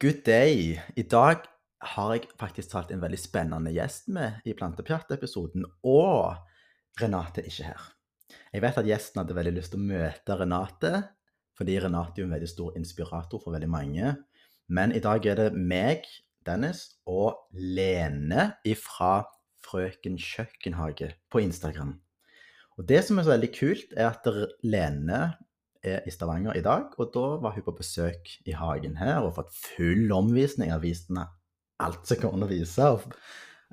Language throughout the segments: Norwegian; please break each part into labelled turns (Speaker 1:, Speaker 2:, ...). Speaker 1: Good day. I dag har jeg faktisk talt en veldig spennende gjest med i Plantepjatt-episoden, og Renate er ikke her. Jeg vet at gjesten hadde veldig lyst til å møte Renate, fordi Renate er jo en veldig stor inspirator for veldig mange. Men i dag er det meg, Dennis, og Lene ifra Frøken Kjøkkenhage på Instagram. Og det som er så veldig kult, er at Lene er i Stavanger i dag, og da var hun på besøk i hagen her og fått full omvisning av visene. Alt som går an å vise. Og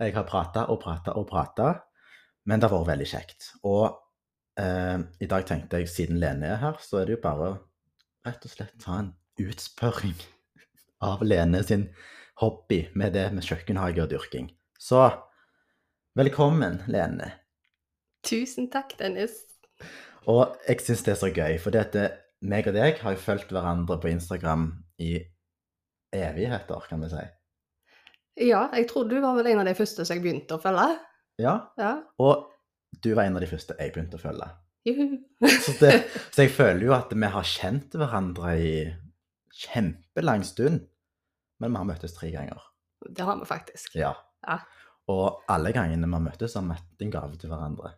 Speaker 1: Jeg har prata og prata og prata, men det har vært veldig kjekt. Og eh, i dag tenkte jeg, siden Lene er her, så er det jo bare å rett og slett ta en utspørring av Lene sin hobby med det med kjøkkenhage og dyrking. Så velkommen, Lene.
Speaker 2: Tusen takk, Dennis.
Speaker 1: Og jeg syns det er så gøy, for det at det- meg og deg har jo fulgt hverandre på Instagram i evigheter, kan vi si.
Speaker 2: Ja, jeg tror du var vel en av de første som jeg begynte å følge.
Speaker 1: Ja,
Speaker 2: Ja.
Speaker 1: og du var en av de første jeg begynte å følge.
Speaker 2: Juhu.
Speaker 1: Så, det, så jeg føler jo at vi har kjent hverandre i kjempelang stund, men vi har møttes tre ganger.
Speaker 2: Det har vi faktisk.
Speaker 1: Ja.
Speaker 2: Ja.
Speaker 1: Og alle gangene vi har møttes, har vi hatt en gave til hverandre.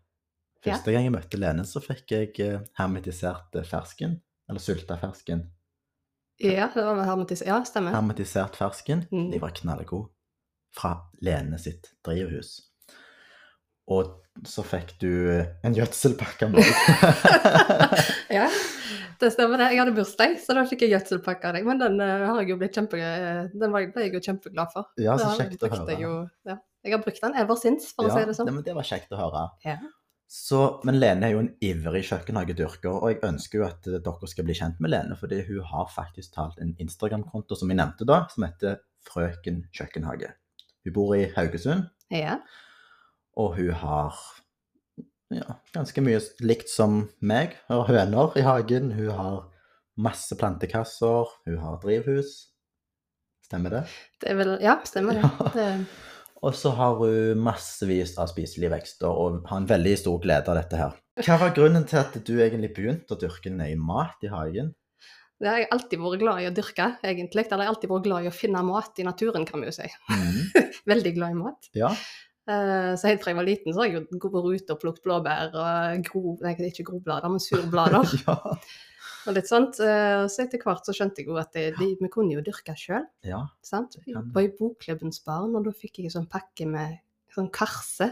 Speaker 1: Første gang jeg møtte Lene, så fikk jeg eh, hermetisert eh, fersken, eller sulta fersken.
Speaker 2: Ja, det var vel hermetis. Ja, stemmer.
Speaker 1: hermetisert fersken.
Speaker 2: Mm.
Speaker 1: De var knallgode. Fra Lene sitt drivhus. Og så fikk du eh, en gjødselpakke med deg.
Speaker 2: Ja, det stemmer det. Jeg hadde bursdag, så da fikk jeg gjødselpakke av deg. Men den, eh, har jeg jo blitt kjempe, den var, ble jeg jo kjempeglad for.
Speaker 1: ja, så
Speaker 2: Den
Speaker 1: kjekt å
Speaker 2: brukte
Speaker 1: høre.
Speaker 2: Jeg, jo, ja. jeg har brukt den ever since, for
Speaker 1: ja,
Speaker 2: å si det sånn.
Speaker 1: nei, men det var kjekt å høre.
Speaker 2: Ja.
Speaker 1: Så, men Lene er jo en ivrig kjøkkenhagedyrker, og jeg ønsker jo at eh, dere skal bli kjent med Lene, fordi hun har faktisk talt en Instagram-konto som jeg nevnte da, som heter Frøken kjøkkenhage. Hun bor i Haugesund,
Speaker 2: Ja.
Speaker 1: Og hun har ja, ganske mye likt som meg. Hun har høner i hagen, hun har masse plantekasser, hun har drivhus. Stemmer det?
Speaker 2: Det er vel, ja, stemmer det.
Speaker 1: Ja.
Speaker 2: det.
Speaker 1: Og så har hun massevis av spiselige vekster og har en veldig stor glede av dette her. Hva var grunnen til at du egentlig begynte å dyrke din egen mat i hagen?
Speaker 2: Det har jeg alltid vært glad i å dyrke, egentlig. Eller jeg har alltid vært glad i å finne mat i naturen, kan vi jo si.
Speaker 1: Mhm.
Speaker 2: Veldig glad i mat.
Speaker 1: Ja.
Speaker 2: Eh, Så helt fra jeg var liten, så har jeg jo vært ute og plukket blåbær og gro, nei, ikke groblader, men surblader
Speaker 1: ja.
Speaker 2: og litt sånt. Eh, Så etter hvert så skjønte jeg jo at det, de- vi kunne jo dyrke sjøl,
Speaker 1: Ja.
Speaker 2: sant.
Speaker 1: Det kan du.
Speaker 2: Jeg var i Bokklubbens barn, og da fikk jeg en sånn pakke med sånn karse.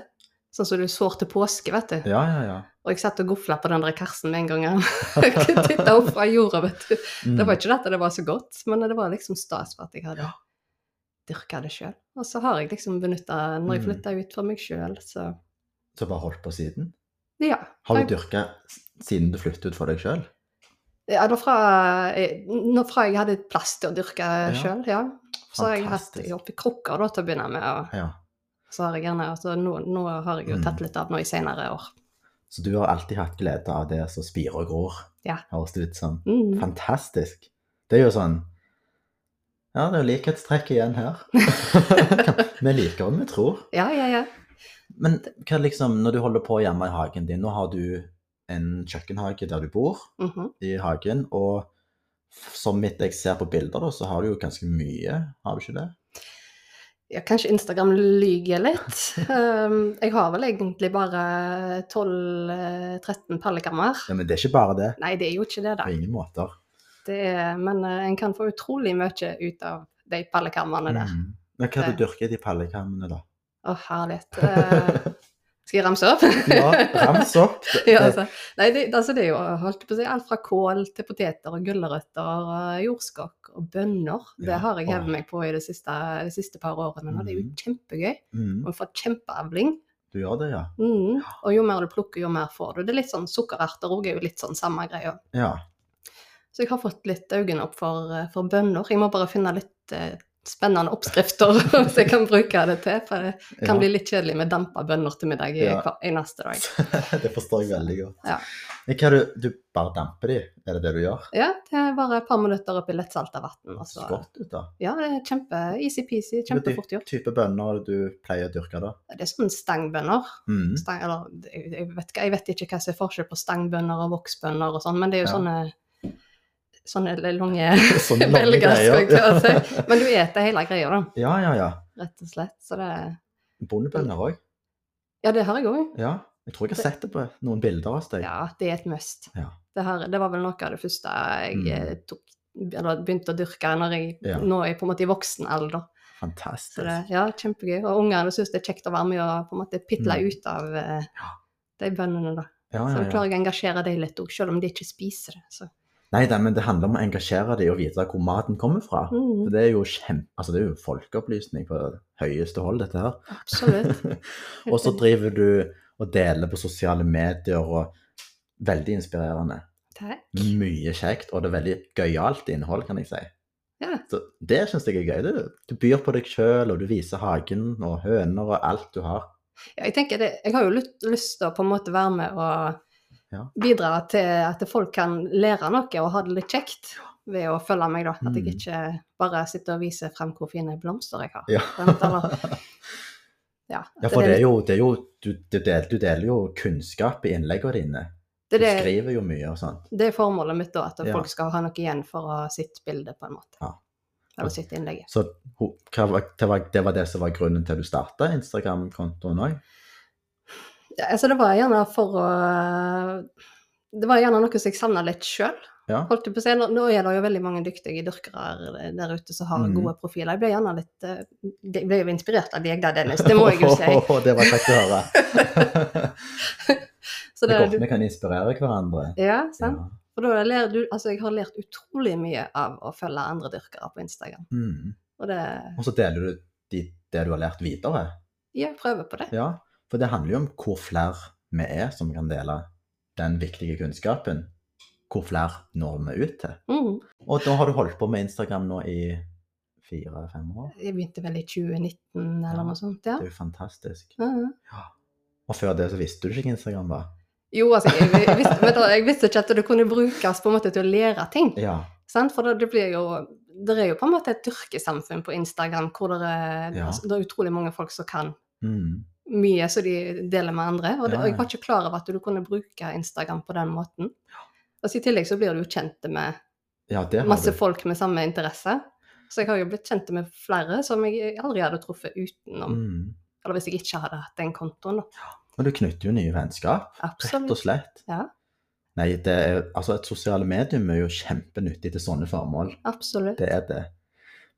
Speaker 2: Sånn som du sår til påske, vet du.
Speaker 1: Ja, ja, ja.
Speaker 2: Og jeg satt og gofla på den der karsen med en gang. Jeg kunne titte opp fra jorda, vet du. Det var ikke det at det var så godt, men det var liksom stas for at jeg hadde
Speaker 1: Mm. Ja.
Speaker 2: dyrka det sjøl. Og så har jeg liksom benytta Når jeg
Speaker 1: Mm.
Speaker 2: flytta ut for meg sjøl, så
Speaker 1: Så bare holdt på siden?
Speaker 2: ja.
Speaker 1: Har
Speaker 2: Jeg-
Speaker 1: du dyrka siden du flyttet ut for deg sjøl?
Speaker 2: Ja, da fra, eh, nå fra jeg hadde plass til å dyrke sjøl, ja. Så har jeg hatt
Speaker 1: Fantastisk.
Speaker 2: jeg oppi krukker da, til å begynne med. Og
Speaker 1: Ja.
Speaker 2: så har jeg gjerne, altså, nå, nå har jeg jo
Speaker 1: Mm.
Speaker 2: tatt litt av nå i senere år.
Speaker 1: Så du har alltid hatt glede av det som spirer og gror,
Speaker 2: Ja.
Speaker 1: høres det ut som.
Speaker 2: Mm.
Speaker 1: Fantastisk. Det er jo sånn Ja, det er jo likhetstrekk igjen her. vi liker og vi tror.
Speaker 2: Ja, ja, ja.
Speaker 1: Men hva liksom, når du holder på hjemme i hagen din Nå har du en kjøkkenhage der du bor,
Speaker 2: Mhm.
Speaker 1: i hagen, og f- som mitt jeg ser på bilder, da, så har du jo ganske mye, har du ikke det?
Speaker 2: ja kanskje Instagram lyger litt. Um, jeg har vel egentlig bare 12-13 pallekammer.
Speaker 1: Ja, Men det er ikke bare det.
Speaker 2: Nei, det er jo ikke det, da.
Speaker 1: På ingen måter.
Speaker 2: Det er, men eh, en kan få utrolig mye ut av de pallekammerne der. Å,
Speaker 1: Mm. Men hva er det du dyrker i de pallekammene, da?
Speaker 2: herlighet. Eh, skal jeg ramse opp?
Speaker 1: Ja, rams opp. Det-
Speaker 2: Ja,
Speaker 1: det-
Speaker 2: altså. Nei, det, altså det er jo holdt på å si, alt fra kål til poteter og gulrøtter og eh, jordskokk og bønner.
Speaker 1: Ja,
Speaker 2: Det har jeg
Speaker 1: åh.
Speaker 2: hevet meg på i de siste, de siste par årene. og Det er jo
Speaker 1: Mhm.
Speaker 2: kjempegøy.
Speaker 1: Mm.
Speaker 2: Og får kjempeavling.
Speaker 1: Du gjør det, ja.
Speaker 2: Mhm. Og jo mer du plukker, jo mer får du. Det er litt sånn Sukkererter òg er jo litt sånn samme greia.
Speaker 1: Ja.
Speaker 2: Så jeg har fått litt øynene opp for, eh, for bønner. Jeg må bare finne litt eh, spennende oppskrifter som jeg kan bruke det til. For det kan
Speaker 1: ja.
Speaker 2: bli litt kjedelig med dampa bønner til middag i
Speaker 1: Ja.
Speaker 2: hver eneste dag.
Speaker 1: det forstår jeg veldig godt.
Speaker 2: Ja.
Speaker 1: Men hva er det, du bare damper de? Er det det du gjør?
Speaker 2: Ja, det er bare et par minutter oppi lettsalta vann. Og
Speaker 1: Så
Speaker 2: så
Speaker 1: godt ut, da.
Speaker 2: Ja, det er kjempe
Speaker 1: Hva er det
Speaker 2: easy-peasy, altså, kjempefort gjort.
Speaker 1: type bønner er det du pleier å dyrke, da?
Speaker 2: Det er sånn stangbønner.
Speaker 1: Mm.
Speaker 2: Stang, eller, jeg, jeg vet, ikke- jeg vet ikke hva som er forskjell på stangbønner og voksbønner og sånn, men det er jo
Speaker 1: Ja.
Speaker 2: sånne sånne lange
Speaker 1: Sånne lange
Speaker 2: belger, skal jeg til å
Speaker 1: greier.
Speaker 2: si. Men du eter hele greia, da,
Speaker 1: Ja, ja, ja.
Speaker 2: rett og slett. Så det
Speaker 1: Bondebønder òg.
Speaker 2: Ja, det har jeg òg.
Speaker 1: Ja. Jeg tror jeg har sett det på noen bilder av deg.
Speaker 2: Ja, det er et must.
Speaker 1: Ja.
Speaker 2: Det, har, det var vel noe av det første jeg
Speaker 1: Mm.
Speaker 2: eh, tok eller begynte å dyrke når jeg,
Speaker 1: Ja.
Speaker 2: nå er jeg på en måte i voksen alder. Så
Speaker 1: Fantastisk.
Speaker 2: det, ja, kjempegøy. Og ungene syns det er kjekt å være med og på en måte pitle
Speaker 1: Mm.
Speaker 2: ut av eh,
Speaker 1: Ja.
Speaker 2: de bøndene, da.
Speaker 1: Ja,
Speaker 2: Så
Speaker 1: ja,
Speaker 2: da
Speaker 1: ja.
Speaker 2: klarer jeg å engasjere dem litt òg, selv om de ikke spiser det. Så.
Speaker 1: Nei, det, men det handler om å engasjere dem og vite hvor maten kommer fra.
Speaker 2: Mm,
Speaker 1: For det er jo kjem... Altså, det er jo folkeopplysning på høyeste hold, dette her.
Speaker 2: absolutt.
Speaker 1: og så driver du og deler på sosiale medier, og veldig inspirerende.
Speaker 2: Takk.
Speaker 1: Mye kjekt, og det er veldig gøyalt innhold, kan jeg si.
Speaker 2: Ja.
Speaker 1: Så det syns jeg er gøy. Du, du byr på deg sjøl, og du viser hagen og høner og alt du har.
Speaker 2: Ja, jeg tenker det, jeg har jo lyst, lyst til å på en måte være med og
Speaker 1: Ja.
Speaker 2: bidra til at folk kan lære noe og ha det litt kjekt ved å følge meg, da. At
Speaker 1: Mm.
Speaker 2: jeg ikke bare sitter og viser frem hvor fine blomster jeg har.
Speaker 1: Ja.
Speaker 2: på en måte, eller- ja,
Speaker 1: Ja,
Speaker 2: at
Speaker 1: for det
Speaker 2: det,
Speaker 1: er jo, det er jo du, du, deler, du deler jo kunnskap i innleggene dine.
Speaker 2: det,
Speaker 1: Du
Speaker 2: er det,
Speaker 1: skriver jo mye og sånt.
Speaker 2: det er formålet mitt, da. At
Speaker 1: Ja.
Speaker 2: folk skal ha noe igjen for å sitt bilde, på en måte.
Speaker 1: Ja.
Speaker 2: Eller sitt innlegg.
Speaker 1: Så ho- hva, var- det, var, det var det som var grunnen til du starta Instagram-kontoen òg?
Speaker 2: Ja, altså, det var gjerne for å Det var gjerne noe som jeg savna litt sjøl.
Speaker 1: Ja.
Speaker 2: holdt jeg på å si, nå- nå er det jo veldig mange dyktige dyrkere der ute som har
Speaker 1: Mhm.
Speaker 2: gode profiler. Jeg ble gjerne litt eh, Jeg ble jo inspirert av deg da, Dennis, det må jeg jo si.
Speaker 1: det var kjekt å høre.
Speaker 2: Så
Speaker 1: det
Speaker 2: det,
Speaker 1: er godt
Speaker 2: du,
Speaker 1: vi kan inspirere hverandre.
Speaker 2: ja, sant?
Speaker 1: Ja.
Speaker 2: Og da lærer du, altså jeg har lært utrolig mye av å følge andre dyrkere på Instagram.
Speaker 1: Mm.
Speaker 2: Og det,
Speaker 1: Og så deler du de, det du har lært videre.
Speaker 2: jeg prøver på det.
Speaker 1: Ja, For det handler jo om hvor flere vi er som kan dele den viktige kunnskapen. Hvor flere når vi ut til.
Speaker 2: Mhm.
Speaker 1: Og da har du holdt på med Instagram nå i fire-fem år.
Speaker 2: Jeg begynte vel i 2019
Speaker 1: Ja.
Speaker 2: eller noe sånt, ja.
Speaker 1: Det er jo fantastisk.
Speaker 2: Mhm.
Speaker 1: Og før det så visste du ikke hva Instagram var.
Speaker 2: Jo, altså, jeg, jeg, visste, vet du, jeg visste ikke at det kunne brukes på en måte til å lære ting.
Speaker 1: Ja.
Speaker 2: Sant? For det, det blir jo Det er jo på en måte et dyrkesamfunn på Instagram hvor det er,
Speaker 1: Ja.
Speaker 2: altså, det er utrolig mange folk som kan
Speaker 1: Mm.
Speaker 2: mye som de deler med andre. Og, det,
Speaker 1: Ja,
Speaker 2: og jeg
Speaker 1: ja.
Speaker 2: var ikke klar over at du kunne bruke Instagram på den måten. Og så I tillegg så blir du jo kjent med
Speaker 1: ja, det har du.
Speaker 2: masse folk med samme interesse. Så jeg har jo blitt kjent med flere som jeg aldri hadde truffet utenom.
Speaker 1: Mm.
Speaker 2: Eller hvis jeg ikke hadde hatt den kontoen. da.
Speaker 1: Men du knytter jo nye vennskap, rett og
Speaker 2: Absolutt.
Speaker 1: slett.
Speaker 2: Ja.
Speaker 1: Nei, det er, altså et sosiale medium er jo kjempenyttig til sånne formål.
Speaker 2: absolutt.
Speaker 1: Det er det.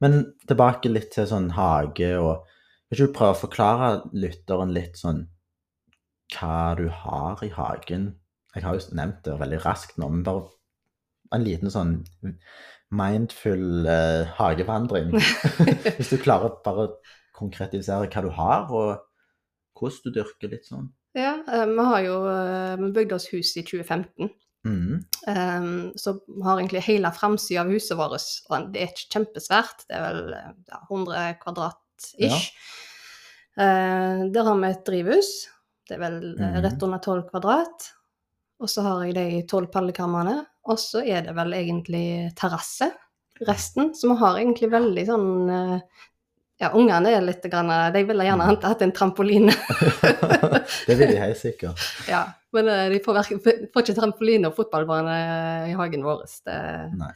Speaker 1: Men tilbake litt til sånn hage og Vil ikke du prøve å forklare lytteren litt sånn hva du har i hagen? Jeg har jo nevnt det veldig raskt nå, men bare en liten sånn mindful eh, hagevandring. Hvis du klarer bare å konkretisere hva du har, og hvordan du dyrker litt sånn.
Speaker 2: Ja, eh, vi har jo eh, Vi bygde oss hus i 2015.
Speaker 1: Mhm.
Speaker 2: Um, så har egentlig hele framsida av huset vårt og Det er ikke kjempesvært, det er vel eh, ja, 100 kvadrat-ish. Eh, der har vi et drivhus. Det er vel eh,
Speaker 1: Mhm.
Speaker 2: rett under 12 kvadrat. Og så har jeg de tolv pallekamrene. Og så er det vel egentlig terrasse, resten. Så vi har egentlig veldig sånn eh, Ja, ungene er litt grann, eh, De ville gjerne
Speaker 1: Mhm.
Speaker 2: hatt en trampoline.
Speaker 1: det vil de helt sikkert.
Speaker 2: Ja, men eh, de får, verk- får ikke trampoline og fotballbane i hagen vår. Det,
Speaker 1: Nei.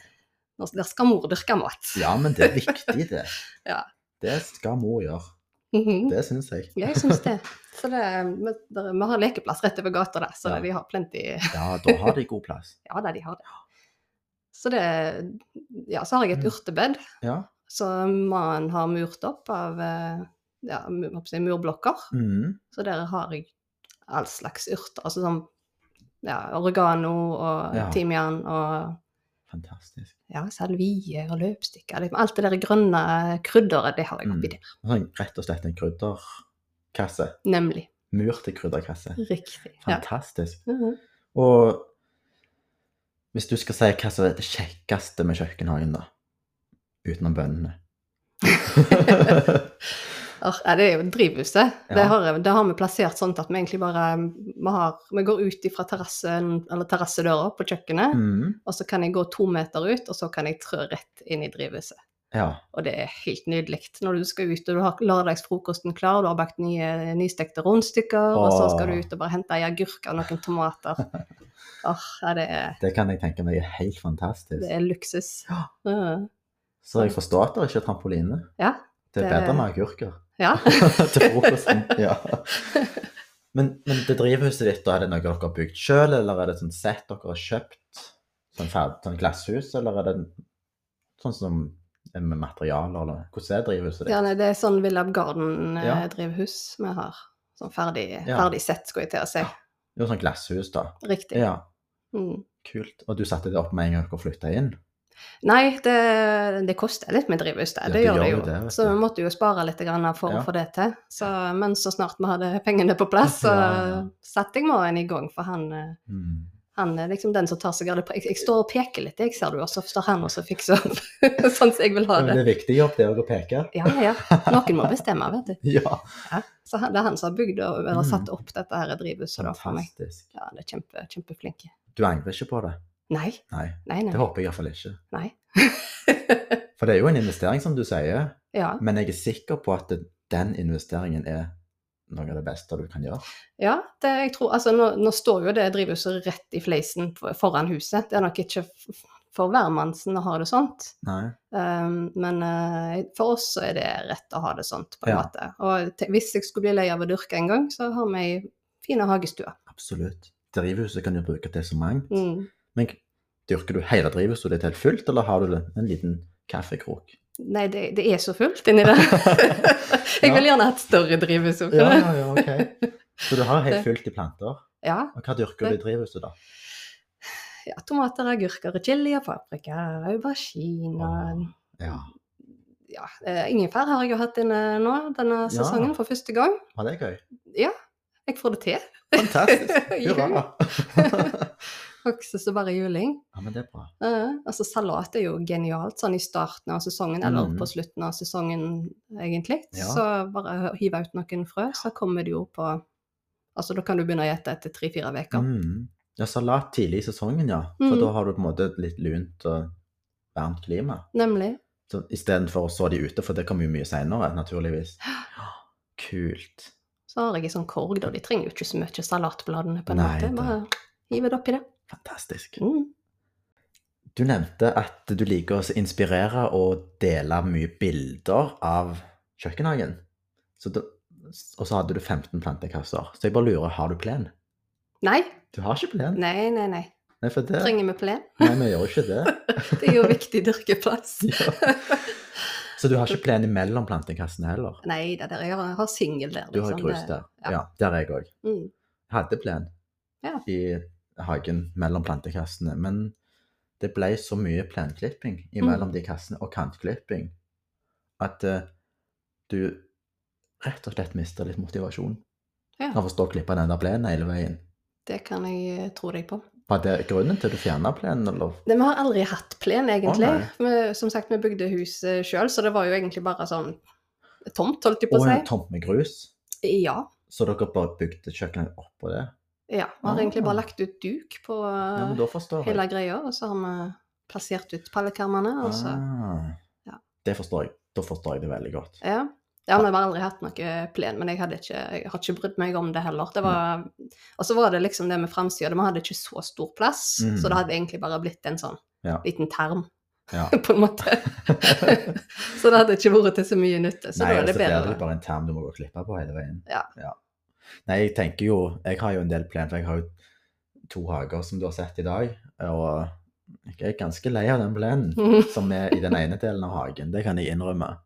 Speaker 2: Nå- Der skal mor dyrke mat.
Speaker 1: Ja, men det er viktig, det.
Speaker 2: Ja.
Speaker 1: Det skal mor gjøre.
Speaker 2: Mhm.
Speaker 1: Det syns jeg.
Speaker 2: Ja, Jeg syns det. Så det, vi, der, vi har lekeplass rett over gata der, så
Speaker 1: Ja.
Speaker 2: de har plenty
Speaker 1: Ja, da har de god plass.
Speaker 2: Ja da, de har det. Så det Ja, så har jeg et
Speaker 1: Mm.
Speaker 2: urtebed
Speaker 1: Ja.
Speaker 2: som mannen har murt opp av eh, ja, mu- hva skal jeg si, murblokker.
Speaker 1: Mhm.
Speaker 2: Så der har jeg all slags urter. Altså sånn ja, oregano og
Speaker 1: Ja.
Speaker 2: timian og
Speaker 1: Fantastisk.
Speaker 2: ja, salvie og løpstikker. Liksom. Alt det der grønne krydderet, det har jeg oppi
Speaker 1: Mm.
Speaker 2: der.
Speaker 1: Sånn, rett og slett en krydderkasse.
Speaker 2: Nemlig.
Speaker 1: Mur til krydderkasse.
Speaker 2: Riktig. Ja.
Speaker 1: Fantastisk.
Speaker 2: Mhm.
Speaker 1: Og hvis du skal si hva som er det kjekkeste med kjøkkenhagen, da? Utenom bønnene.
Speaker 2: Or, ja, det er jo drivhuset. Det,
Speaker 1: Ja.
Speaker 2: har, jeg- det har vi plassert sånn at vi egentlig bare vi, har, vi går ut fra terrassen, eller terrassedøra på kjøkkenet,
Speaker 1: Mhm.
Speaker 2: og så kan jeg gå to meter ut, og så kan jeg trø rett inn i drivhuset.
Speaker 1: Ja.
Speaker 2: Og det er helt nydelig når du skal ut og du har lørdagsfrokosten klar, du har bakt nye nystekte rundstykker, og så skal du ut og bare hente ei agurk og noen tomater. Åh, ja, det er,
Speaker 1: Det kan jeg tenke meg er helt fantastisk.
Speaker 2: det er luksus.
Speaker 1: Ja.
Speaker 2: Mm.
Speaker 1: Så jeg forstår at det ikke er trampoline.
Speaker 2: Ja,
Speaker 1: Det er
Speaker 2: det-
Speaker 1: bedre med agurker
Speaker 2: Ja.
Speaker 1: til frokosten. Ja. Men, men det drivhuset ditt, da er det noe dere har bygd sjøl, eller er det sånn sett dere har kjøpt? Sånn, ferd, sånn glasshus, eller er det sånn som med materialer, eller hvordan er drivhuset
Speaker 2: ja
Speaker 1: ditt?
Speaker 2: nei, det er sånn Villab
Speaker 1: Ja.
Speaker 2: Garden-drivhus vi har. Sånn ferdig,
Speaker 1: Ja.
Speaker 2: ferdig sett, skulle jeg til å si.
Speaker 1: Jo, sånn glasshus, da.
Speaker 2: Riktig.
Speaker 1: Ja,
Speaker 2: Mm.
Speaker 1: kult. Og du satte det opp med en gang dere flytta inn?
Speaker 2: Nei, det, det koster litt med drivhus, det.
Speaker 1: Ja,
Speaker 2: det
Speaker 1: det
Speaker 2: gjør det
Speaker 1: gjør
Speaker 2: jo.
Speaker 1: jo det, vet
Speaker 2: så
Speaker 1: du.
Speaker 2: vi måtte jo spare litt grann for
Speaker 1: Ja.
Speaker 2: å få det til. Så, men så snart vi hadde pengene på plass, så
Speaker 1: Ja, ja.
Speaker 2: satte jeg mannen i gang. For han, eh,
Speaker 1: Mm.
Speaker 2: han er liksom den som tar seg av det. Jeg, jeg står og peker litt, jeg ser du, og så står han og så fikser opp sånn som jeg vil ha
Speaker 1: Men det
Speaker 2: det.
Speaker 1: er viktig jobb, det òg, å peke.
Speaker 2: Ja, ja. Noen må bestemme, vet du.
Speaker 1: Ja,
Speaker 2: Så han- det er han som har bygd og eller
Speaker 1: Mm.
Speaker 2: satt opp dette her drivhuset da, for meg.
Speaker 1: fantastisk.
Speaker 2: Ja, han er kjempe, kjempeflink.
Speaker 1: Du angrer ikke på det?
Speaker 2: Nei,
Speaker 1: Nei,
Speaker 2: nei,
Speaker 1: det
Speaker 2: nei.
Speaker 1: håper jeg iallfall ikke.
Speaker 2: nei.
Speaker 1: For det er jo en investering, som du sier.
Speaker 2: Ja.
Speaker 1: Men jeg er sikker på at den investeringen er noe av det beste du kan gjøre.
Speaker 2: Ja, det, jeg tror, altså, nå, nå står jo det drivhuset rett i fleisen f- foran huset. Det er nok ikke f- f- for hvermannsen å ha det sånt.
Speaker 1: Nei.
Speaker 2: Um, men eh, for oss så er det rett å ha det sånt, på en
Speaker 1: Ja.
Speaker 2: måte. Og te, hvis jeg skulle bli lei av å dyrke en gang, så har vi ei fine hagestue.
Speaker 1: Absolutt. Drivhuset kan du bruke til så mangt.
Speaker 2: Mm.
Speaker 1: Men dyrker du hele drivhuset ditt helt fullt, eller har du det- en liten kaffekrok?
Speaker 2: Nei, det, det er så fullt inni der. jeg ville gjerne hatt større drivhus. også.
Speaker 1: ja, ok. Så du har helt fullt i planter.
Speaker 2: ja.
Speaker 1: Og hva dyrker du i drivhuset, da?
Speaker 2: ja. Tomater, agurker, chili og paprika, aubergine. og-
Speaker 1: Ja.
Speaker 2: Ja, eh, ingefær har jeg jo hatt inne nå denne
Speaker 1: Ja.
Speaker 2: sesongen for første gang.
Speaker 1: Var det gøy?
Speaker 2: Jeg får det til.
Speaker 1: Fantastisk.
Speaker 2: Ja.
Speaker 1: Hurra.
Speaker 2: Okses og bare juling.
Speaker 1: Ja, men det er bra.
Speaker 2: Eh, altså Salat er jo genialt sånn i starten av sesongen, eller
Speaker 1: Mm.
Speaker 2: på slutten av sesongen egentlig.
Speaker 1: Ja.
Speaker 2: Så bare hive ut noen frø, så kommer det jo på Altså da kan du begynne å gjete etter tre-fire uker.
Speaker 1: Mm. Ja, salat tidlig i sesongen, ja. For
Speaker 2: Mm.
Speaker 1: da har du på en måte et litt lunt og varmt klima.
Speaker 2: Nemlig.
Speaker 1: Så Istedenfor å så de ute, for det kommer jo mye seinere, naturligvis. Kult.
Speaker 2: Så har jeg en sånn korg, da. De trenger jo ikke så mye salatbladene på en
Speaker 1: Nei,
Speaker 2: måte.
Speaker 1: det-
Speaker 2: Bare hive det oppi det.
Speaker 1: Fantastisk.
Speaker 2: Mm.
Speaker 1: Du nevnte at du liker å inspirere og dele mye bilder av kjøkkenhagen. Så da, og så hadde du 15 plantekasser. Så jeg bare lurer, har du plen?
Speaker 2: Nei,
Speaker 1: Du har ikke plen?
Speaker 2: nei, nei. nei.
Speaker 1: Nei, for det,
Speaker 2: Trenger vi plen?
Speaker 1: nei vi gjør jo ikke det.
Speaker 2: Det er jo viktig dyrkeplass.
Speaker 1: Ja. Så du har ikke plen imellom plantekassene heller?
Speaker 2: Nei, det der, jeg har- har singel der.
Speaker 1: Du har
Speaker 2: liksom.
Speaker 1: grus
Speaker 2: Det-
Speaker 1: der?
Speaker 2: ja.
Speaker 1: Ja, der er jeg òg.
Speaker 2: Mm.
Speaker 1: hadde plen
Speaker 2: Ja.
Speaker 1: i hagen mellom plantekassene. Men det ble så mye plenklipping
Speaker 2: Mm.
Speaker 1: imellom de kassene, og kantklipping, at eh, du rett og slett mister litt motivasjon
Speaker 2: Ja.
Speaker 1: av å stå og klippe den der plenen hele veien.
Speaker 2: Det kan jeg eh, tro deg på.
Speaker 1: Var det grunnen til at du fjerna plenen, eller?
Speaker 2: Det, vi har aldri hatt plen, egentlig.
Speaker 1: Å,
Speaker 2: vi, som sagt, vi bygde hus eh, sjøl, så det var jo egentlig bare sånn tomt, holdt jeg på
Speaker 1: Og
Speaker 2: å
Speaker 1: en
Speaker 2: si.
Speaker 1: tomt med grus,
Speaker 2: Ja.
Speaker 1: så dere bare bygde kjøkkenet oppå det?
Speaker 2: ja. Vi har
Speaker 1: Ah.
Speaker 2: egentlig bare lagt ut duk på eh,
Speaker 1: Ja, men da forstår
Speaker 2: hele
Speaker 1: jeg.
Speaker 2: greia, og så har vi plassert ut pallekarmene. Og så,
Speaker 1: Ah,
Speaker 2: Ja.
Speaker 1: det forstår jeg. Da forstår jeg det veldig godt.
Speaker 2: ja. ja, men vi har aldri hatt noe plen, men jeg, hadde ikke, jeg har ikke brydd meg om det heller. Det var, og så var det liksom det med framsida, vi hadde ikke så stor plass,
Speaker 1: Mm.
Speaker 2: så det hadde egentlig bare blitt en sånn
Speaker 1: Ja.
Speaker 2: liten term.
Speaker 1: Ja.
Speaker 2: på en måte. så det hadde ikke vært til så mye nytte. Så
Speaker 1: Nei,
Speaker 2: da er det
Speaker 1: altså,
Speaker 2: bedre.
Speaker 1: Det er jo bare en term du må gå og klippe på hele veien.
Speaker 2: Ja.
Speaker 1: Nei, jeg tenker jo Jeg har jo en del plen, for jeg har jo to hager som du har sett i dag. Og jeg er ganske lei av den plenen som er i den ene delen av hagen. Det kan jeg innrømme.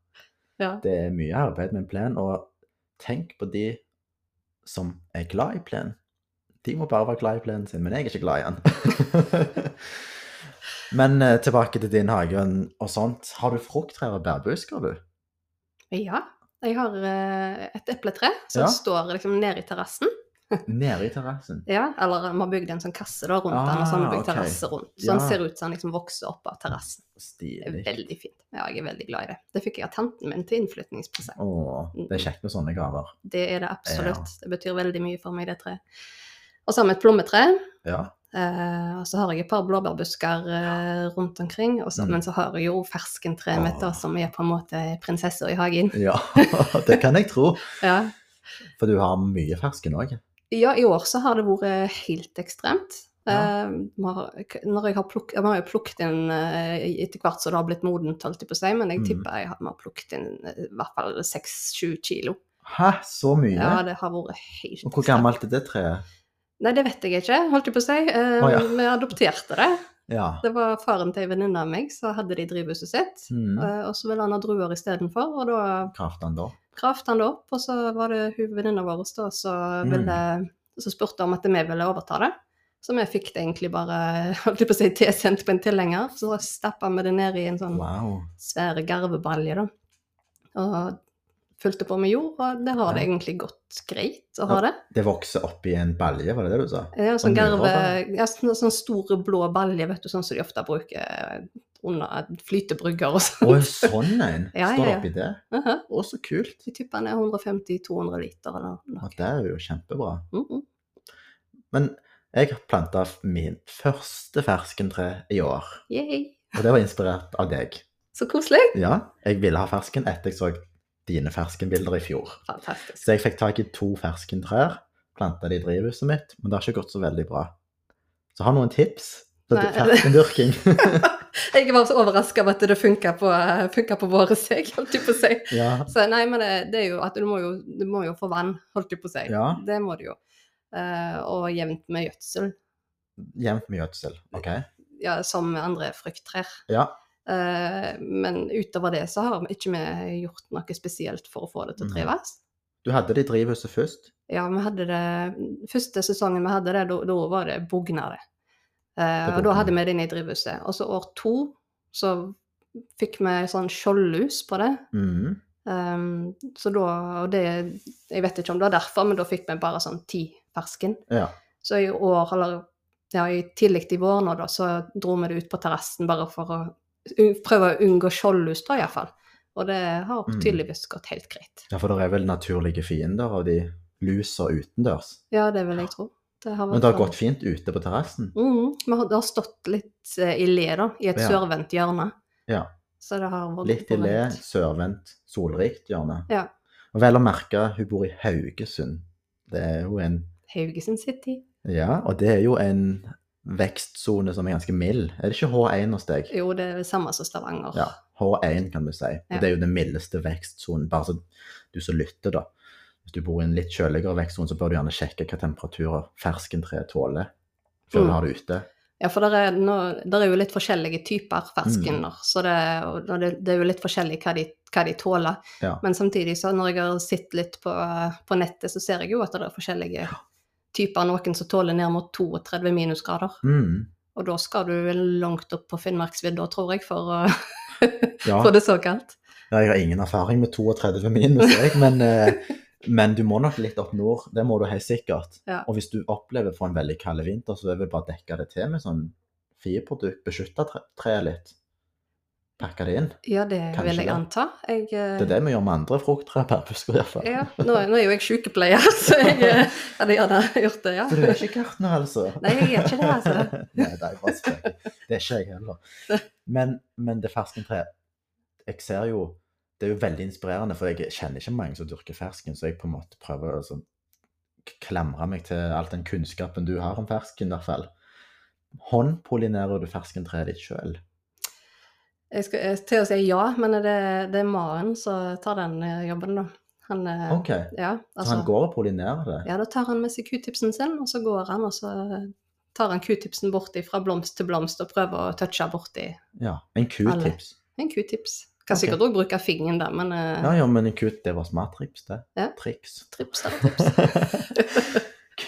Speaker 2: ja.
Speaker 1: Det er mye arbeid med en plen, og tenk på de som er glad i plen. De må bare være glad i plenen sin, men jeg er ikke glad i den. men eh, tilbake til din hage og sånt. Har du frukttrær og bærbusker, du?
Speaker 2: ja. Jeg har eh, et epletre som
Speaker 1: Ja.
Speaker 2: står liksom nede i terrassen.
Speaker 1: Nede i terrassen?
Speaker 2: Ja, eller vi har bygd en sånn kasse da, rundt den, og så har vi bygd
Speaker 1: Ah, ok.
Speaker 2: terrasse rundt. Så den
Speaker 1: Ja.
Speaker 2: ser ut som den liksom vokser opp av terrassen. Det er
Speaker 1: Stilig.
Speaker 2: veldig fint. Ja, jeg er veldig glad i det. Det fikk jeg av tanten min til innflytningspresang.
Speaker 1: Åh, det er kjekt med sånne gaver.
Speaker 2: Det er det absolutt. Det betyr veldig mye for meg, det treet. Og så har vi et plommetre.
Speaker 1: Ja.
Speaker 2: Eh, og så har jeg et par blåbærbusker eh, rundt omkring. Og så,
Speaker 1: Mm.
Speaker 2: Men så har jeg jo ferskentreet mitt, da,
Speaker 1: Åh.
Speaker 2: som er på en måte prinsessa i hagen.
Speaker 1: Ja, det kan jeg tro.
Speaker 2: Ja.
Speaker 1: For du har mye fersken òg.
Speaker 2: Ja, i år så har det vært helt ekstremt.
Speaker 1: Ja.
Speaker 2: Eh, vi har- når jeg har plukket, vi har jo plukket inn eh, etter hvert som det har blitt modent, holdt jeg på å si, men jeg
Speaker 1: Mm.
Speaker 2: tipper jeg har, vi har plukket inn eh, i hvert fall 6-7 kilo.
Speaker 1: Hæ, så mye?
Speaker 2: Ja, det har vært helt
Speaker 1: Og hvor
Speaker 2: ekstremt.
Speaker 1: gammelt er det treet?
Speaker 2: Nei, det vet jeg ikke, holdt jeg på å si. Eh,
Speaker 1: Å, ja.
Speaker 2: Vi adopterte det.
Speaker 1: Ja.
Speaker 2: Det var faren til en venninne av meg, så hadde de drivhuset sitt.
Speaker 1: Mm.
Speaker 2: Eh, og så ville han ha druer istedenfor, og da
Speaker 1: Kraft den da?
Speaker 2: kravde han det opp. Og så var det hun venninna vår da, som
Speaker 1: Mm.
Speaker 2: ville- som spurte om at vi ville overta det. Så vi fikk det egentlig bare holdt jeg på å si, tilsendt på en tilhenger. Så stappa vi det ned i en sånn
Speaker 1: Wow.
Speaker 2: svær garvebalje, da. Og fylte på med jord, og det har det
Speaker 1: Ja.
Speaker 2: egentlig gått greit å ha
Speaker 1: Ja.
Speaker 2: det.
Speaker 1: Det vokser oppi en balje, var det det du sa?
Speaker 2: Det er en
Speaker 1: Og
Speaker 2: sånn, garve,
Speaker 1: myrhoppe.
Speaker 2: ja, sånn, sånn store blå balje, vet du, sånn som de ofte bruker eh, under flytebrygger og sånn.
Speaker 1: Å, en sånn en!
Speaker 2: Ja,
Speaker 1: Står
Speaker 2: ja,
Speaker 1: det
Speaker 2: ja. Uh-huh.
Speaker 1: oppi det?
Speaker 2: Aha.
Speaker 1: Å, så kult!
Speaker 2: Jeg tipper den er 150-200 liter eller
Speaker 1: Ja,
Speaker 2: noe.
Speaker 1: det er jo kjempebra.
Speaker 2: Mm -mm.
Speaker 1: Men jeg planta min første ferskentre i år,
Speaker 2: Yay.
Speaker 1: og det var inspirert av deg.
Speaker 2: Så koselig!
Speaker 1: Ja, jeg ville ha fersken etter jeg så dine ferskenbilder i fjor.
Speaker 2: Fantastisk.
Speaker 1: Så jeg fikk tak i to ferskentrær, planta de i drivhuset mitt, men det har ikke gått så veldig bra. Så har noen tips til
Speaker 2: Nei.
Speaker 1: ferskendyrking?
Speaker 2: Jeg var så overraska over at det funka på, funket på våre seg, holdt jeg på å si.
Speaker 1: ja.
Speaker 2: Så nei, men det, det er jo at du må jo, du må jo få vann, holdt jeg på å si.
Speaker 1: ja.
Speaker 2: Det må du jo. Eh, og jevnt med gjødsel,
Speaker 1: Jevnt med gjødsel. OK.
Speaker 2: ja, som med andre frukttrær.
Speaker 1: Ja.
Speaker 2: Eh, men utover det så har vi ikke vi gjort noe spesielt for å få det til å
Speaker 1: Mm.
Speaker 2: trives.
Speaker 1: Du hadde det i drivhuset først?
Speaker 2: Ja, vi hadde det Første sesongen vi hadde det, da- da var det bugnere.
Speaker 1: Det
Speaker 2: Eh, og da
Speaker 1: bugner.
Speaker 2: hadde vi det inne i drivhuset. Og så år to så fikk vi sånn skjoldlus på det.
Speaker 1: Mhm.
Speaker 2: Ehm, så da Og det Jeg vet ikke om det var derfor, men da fikk vi bare sånn ti fersken.
Speaker 1: Ja.
Speaker 2: Så i år, eller ja, i tidlig i vår nå, da, så dro vi det ut på terrassen bare for å u- prøve å unngå skjoldlus, da iallfall. Og det har
Speaker 1: Mm.
Speaker 2: tydeligvis gått helt greit.
Speaker 1: Ja, for det er vel naturlige fiender av de lusa utendørs.
Speaker 2: Ja, det vil jeg tro. Det har
Speaker 1: Men det har
Speaker 2: bra.
Speaker 1: gått fint ute på terrassen.
Speaker 2: Mm, vi har, det har stått litt eh, i le, da, i et
Speaker 1: Ja.
Speaker 2: sørvendt hjørne.
Speaker 1: Ja.
Speaker 2: Så det har vært
Speaker 1: Litt i le,
Speaker 2: vært-
Speaker 1: sørvendt, solrikt hjørne.
Speaker 2: Ja.
Speaker 1: Og vel å merke, hun bor i Haugesund. Det er jo en
Speaker 2: Haugesund City.
Speaker 1: Ja, og det er jo en vekstsone som er ganske mild. Er det ikke H1 hos deg?
Speaker 2: Jo, det er det samme som Stavanger.
Speaker 1: Ja, H1 kan du si.
Speaker 2: Ja.
Speaker 1: Og det er jo den mildeste vekstsonen, bare så du som lytter, da. Hvis du bor i en litt kjøligere vekstsone, så bør du gjerne sjekke hva temperaturer ferskentreet tåler før
Speaker 2: Mm.
Speaker 1: du har det ute.
Speaker 2: Ja, for det er, nå, der er jo litt forskjellige typer
Speaker 1: Mm.
Speaker 2: ferskener, så det, og det, det er jo litt forskjellig hva de, hva de tåler.
Speaker 1: Ja.
Speaker 2: Men samtidig, så når jeg har sett litt på, på nettet, så ser jeg jo at det er forskjellige typer. Noen som tåler ned mot 32 minusgrader.
Speaker 1: Mm.
Speaker 2: Og da skal du vel langt opp på Finnmarksvidda, tror jeg, for å
Speaker 1: Ja.
Speaker 2: få det så kaldt.
Speaker 1: Ja, Jeg har ingen erfaring med 32 minus, jeg, men, eh, men du må nok litt opp nord. Det må du helt sikkert.
Speaker 2: Ja.
Speaker 1: Og hvis du opplever for en veldig kald vinter, så er det vel bare å dekke det til med sånn fiberprodukt. Beskytte tre- treet litt. Pakke det inn.
Speaker 2: Ja, det
Speaker 1: Kanskje
Speaker 2: vil jeg
Speaker 1: det.
Speaker 2: anta. Jeg, eh,
Speaker 1: Det er det vi gjør med andre frukttrær per busker, iallfall.
Speaker 2: Ja, nå, nå er jo jeg sykepleier, så jeg eh, hadde gjerne gjort det, ja.
Speaker 1: Så du er ikke gartner, altså?
Speaker 2: Nei, jeg er ikke det, altså.
Speaker 1: Nei, det er bare sprek. Det er ikke jeg heller. Men, men det ferskentreet Jeg ser jo Det er jo veldig inspirerende, for jeg kjenner ikke mange som dyrker fersken, så jeg på en måte prøver å sånn klamre meg til all den kunnskapen du har om fersken, i hvert fall. Håndpollinerer du ferskentreet ditt sjøl?
Speaker 2: Jeg skal eh, til å si ja, men det, det er Maren som tar den eh, jobben, da. Han, eh,
Speaker 1: OK.
Speaker 2: ja,
Speaker 1: Så
Speaker 2: altså,
Speaker 1: han går og pollinerer det?
Speaker 2: ja, da tar han med seg Q-tipsen sin, og så går han, og så tar han Q-tipsen borti fra blomst til blomst og prøver å touche borti
Speaker 1: Ja. En q-tips.
Speaker 2: en Q-tips. Kan
Speaker 1: Ok.
Speaker 2: sikkert òg bruke fingeren der, men eh,
Speaker 1: Ja, ja, men en q det var smart trips, det.
Speaker 2: Ja.
Speaker 1: Triks.
Speaker 2: trips er trips.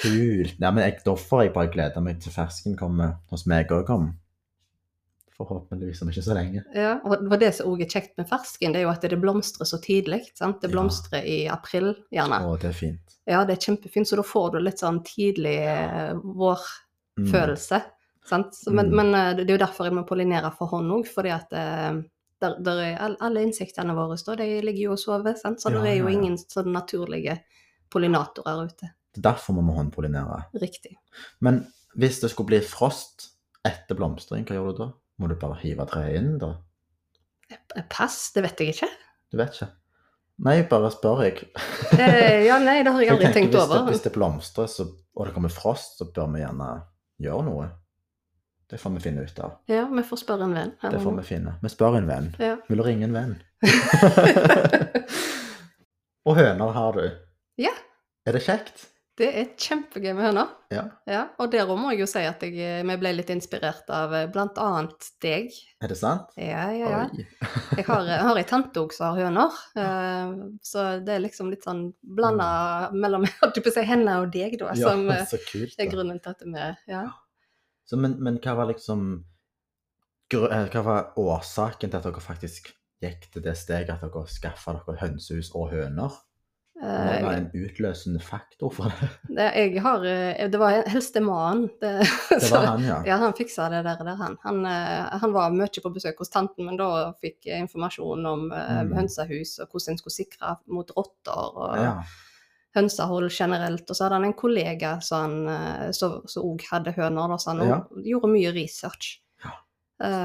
Speaker 1: Kult. Nei, men jeg, da får jeg bare glede meg til fersken kommer sånn hos meg òg om Forhåpentligvis om ikke så lenge.
Speaker 2: Ja, og det var det som òg er kjekt med fersken, det er jo at det blomstrer så tidlig. sant? Det
Speaker 1: Ja.
Speaker 2: blomstrer i april, gjerne.
Speaker 1: Å, det er fint.
Speaker 2: Ja, det er kjempefint, så da får du litt sånn tidlig eh, vårfølelse.
Speaker 1: Mm.
Speaker 2: Sant? Så, men,
Speaker 1: Mm.
Speaker 2: men eh, det er jo derfor jeg må pollinere for hånd òg, fordi at eh, der, der er all, alle insektene våre da, de ligger jo og sover, sant? så
Speaker 1: Ja,
Speaker 2: det er jo
Speaker 1: ja, ja.
Speaker 2: ingen sånn naturlige pollinatorer ute.
Speaker 1: Det er derfor vi må håndpollinere.
Speaker 2: Riktig.
Speaker 1: Men Hvis det skulle bli frost etter blomstring, hva gjør du da? Må du bare hive treet inn, da?
Speaker 2: Eh, Pass, det vet jeg ikke.
Speaker 1: Du vet ikke. Nei, bare spør jeg.
Speaker 2: Eh, ja, nei, det har jeg
Speaker 1: For
Speaker 2: aldri
Speaker 1: tenker,
Speaker 2: tenkt
Speaker 1: hvis
Speaker 2: over.
Speaker 1: Det, hvis det blomstrer, så, og det kommer frost, så bør vi gjerne gjøre noe. Det får vi finne ut av.
Speaker 2: Ja, vi får spørre en venn.
Speaker 1: Det får vi finne. Vi spør en venn.
Speaker 2: Ja.
Speaker 1: Vil du ringe en venn? og høner har du.
Speaker 2: Ja.
Speaker 1: Er det kjekt?
Speaker 2: Det er kjempegøy med høner.
Speaker 1: Ja.
Speaker 2: og der også må jeg jo si at jeg, eh, vi ble litt inspirert av eh, blant annet deg.
Speaker 1: Er det sant?
Speaker 2: Ja, ja, ja.
Speaker 1: Oi.
Speaker 2: Jeg har, jeg har ei tante òg som har høner, eh, så det er liksom litt sånn blanda mellom jeg holdt på å si, henne og deg, da,
Speaker 1: Mm. Ja,
Speaker 2: som eh,
Speaker 1: så kult.
Speaker 2: er
Speaker 1: da.
Speaker 2: grunnen til at vi Ja.
Speaker 1: Så, men, men hva var liksom gru- eh, Hva var årsaken til at dere faktisk gikk til det steget at dere skaffa dere hønsehus og høner? Hva
Speaker 2: Eh,
Speaker 1: var en utløsende faktor for det?
Speaker 2: det, jeg har, eh, det var helst det mannen. Det,
Speaker 1: Det
Speaker 2: så-
Speaker 1: var han, ja.
Speaker 2: Ja, han fiksa det der, der han. Han, eh, han var mye på besøk hos tanten, men da fikk jeg informasjon om eh,
Speaker 1: Mm.
Speaker 2: hønsehus og hvordan en skulle sikre mot rotter og
Speaker 1: Ja.
Speaker 2: hønsehold generelt. Og så hadde han en kollega som han, eh, som òg hadde høner, da, så han
Speaker 1: Ja.
Speaker 2: og- gjorde mye research.
Speaker 1: Ja.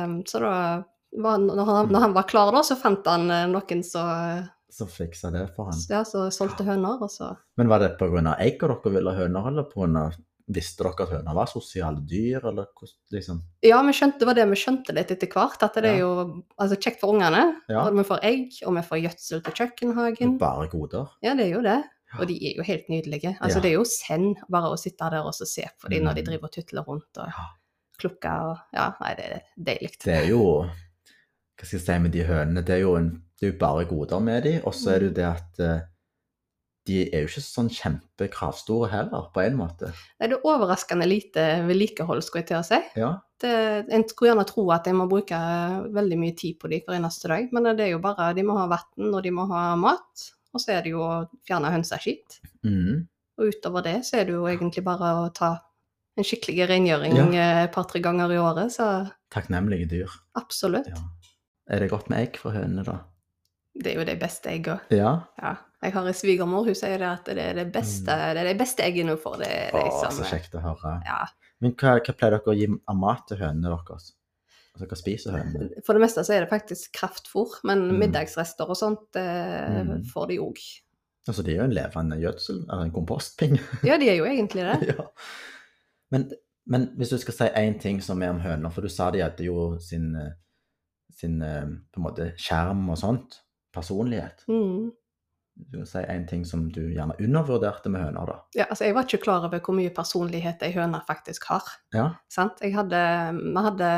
Speaker 2: Um, så da var, når, han, når han var klar, da, så fant han eh, noen som
Speaker 1: Så fiksa det for han.
Speaker 2: ja, så solgte høner, og så
Speaker 1: Men var det pga. egg og dere ville ha høner, eller på grunn av, visste dere at høner var sosiale dyr, eller hvordan liksom
Speaker 2: Ja, vi skjønte, det var det vi skjønte litt etter hvert, at det er
Speaker 1: Ja.
Speaker 2: jo altså, kjekt for ungene.
Speaker 1: Ja.
Speaker 2: Og vi får egg, og vi får gjødsel til kjøkkenhagen.
Speaker 1: Bare goder.
Speaker 2: Ja, det er jo det.
Speaker 1: Ja.
Speaker 2: Og de er jo helt nydelige. Altså,
Speaker 1: Ja.
Speaker 2: Det er jo send bare å sitte der og så se på dem når de
Speaker 1: Mm.
Speaker 2: driver og tutler rundt og
Speaker 1: Ja.
Speaker 2: klukker og Ja, nei, det er deilig.
Speaker 1: Det er jo Hva skal jeg si med de hønene? Det er jo, en, det er jo bare goder med de, og så er
Speaker 2: Mm.
Speaker 1: det jo det at eh, de er jo ikke sånn kjempekravstore heller, på en måte.
Speaker 2: Nei, det er overraskende lite vedlikehold, skulle jeg til å si.
Speaker 1: Ja.
Speaker 2: Det, en skulle gjerne tro at en må bruke veldig mye tid på dem hver eneste dag, men det er jo bare de må ha vann, og de må ha mat. Og så er det jo å fjerne hønseskitt.
Speaker 1: Mhm.
Speaker 2: Og utover det så er det jo egentlig bare å ta en skikkelig rengjøring
Speaker 1: Ja.
Speaker 2: eh, et par-tre ganger i året, så
Speaker 1: Takknemlige dyr.
Speaker 2: absolutt.
Speaker 1: Ja. Er det godt med egg fra hønene, da?
Speaker 2: Det er jo de beste egga.
Speaker 1: Ja.
Speaker 2: Ja. Jeg har en svigermor, hun sier det at det er det beste, det er de beste eggene hun får. Det er
Speaker 1: Mm.
Speaker 2: liksom,
Speaker 1: Å,
Speaker 2: de som
Speaker 1: så kjekt å høre.
Speaker 2: Ja.
Speaker 1: Men hva, hva pleier dere å gi av mat til hønene deres? Altså, hva spiser hønene?
Speaker 2: For det meste så er det faktisk kraftfôr, men
Speaker 1: Mm.
Speaker 2: middagsrester og sånt eh,
Speaker 1: Mm.
Speaker 2: får de òg.
Speaker 1: Altså, det er jo en levende gjødsel, eller en kompostpinge.
Speaker 2: Ja, de er jo egentlig det.
Speaker 1: ja. men, men hvis du skal si én ting som er om høner, for du sa de hadde jo sin, eh, sin eh, på en måte skjerm og sånt, personlighet.
Speaker 2: Mm.
Speaker 1: Du kan si én ting som du gjerne undervurderte med høner, da.
Speaker 2: Ja, altså, jeg var ikke klar over hvor mye personlighet ei høne faktisk har.
Speaker 1: Ja.
Speaker 2: Sant? Jeg hadde, vi hadde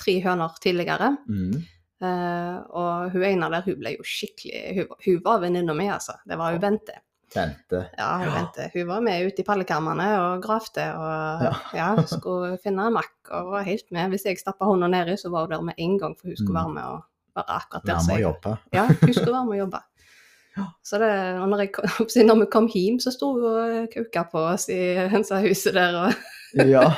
Speaker 2: tre høner tidligere.
Speaker 1: Mm.
Speaker 2: Eh, og hun ene der, hun ble jo skikkelig Hun, hun var venninna mi, altså. Det var hun Bente.
Speaker 1: Bente.
Speaker 2: Ja, hun
Speaker 1: Ja.
Speaker 2: Bente. Hun var med ute i pallekarmene og gravde og
Speaker 1: Ja.
Speaker 2: ja. skulle finne en makk og var helt med. Hvis jeg stappa hånda nedi, så var hun der med en gang, for hun skulle
Speaker 1: Mm.
Speaker 2: være med og være akkurat der.
Speaker 1: Vær med
Speaker 2: som
Speaker 1: å
Speaker 2: jeg-
Speaker 1: jobbe.
Speaker 2: Ja, hun skulle være med og jobbe.
Speaker 1: Ja.
Speaker 2: Så det, og når, jeg kom, så når vi kom hjem, så sto hun og kauka på oss i hønsehuset der. Og,
Speaker 1: Ja.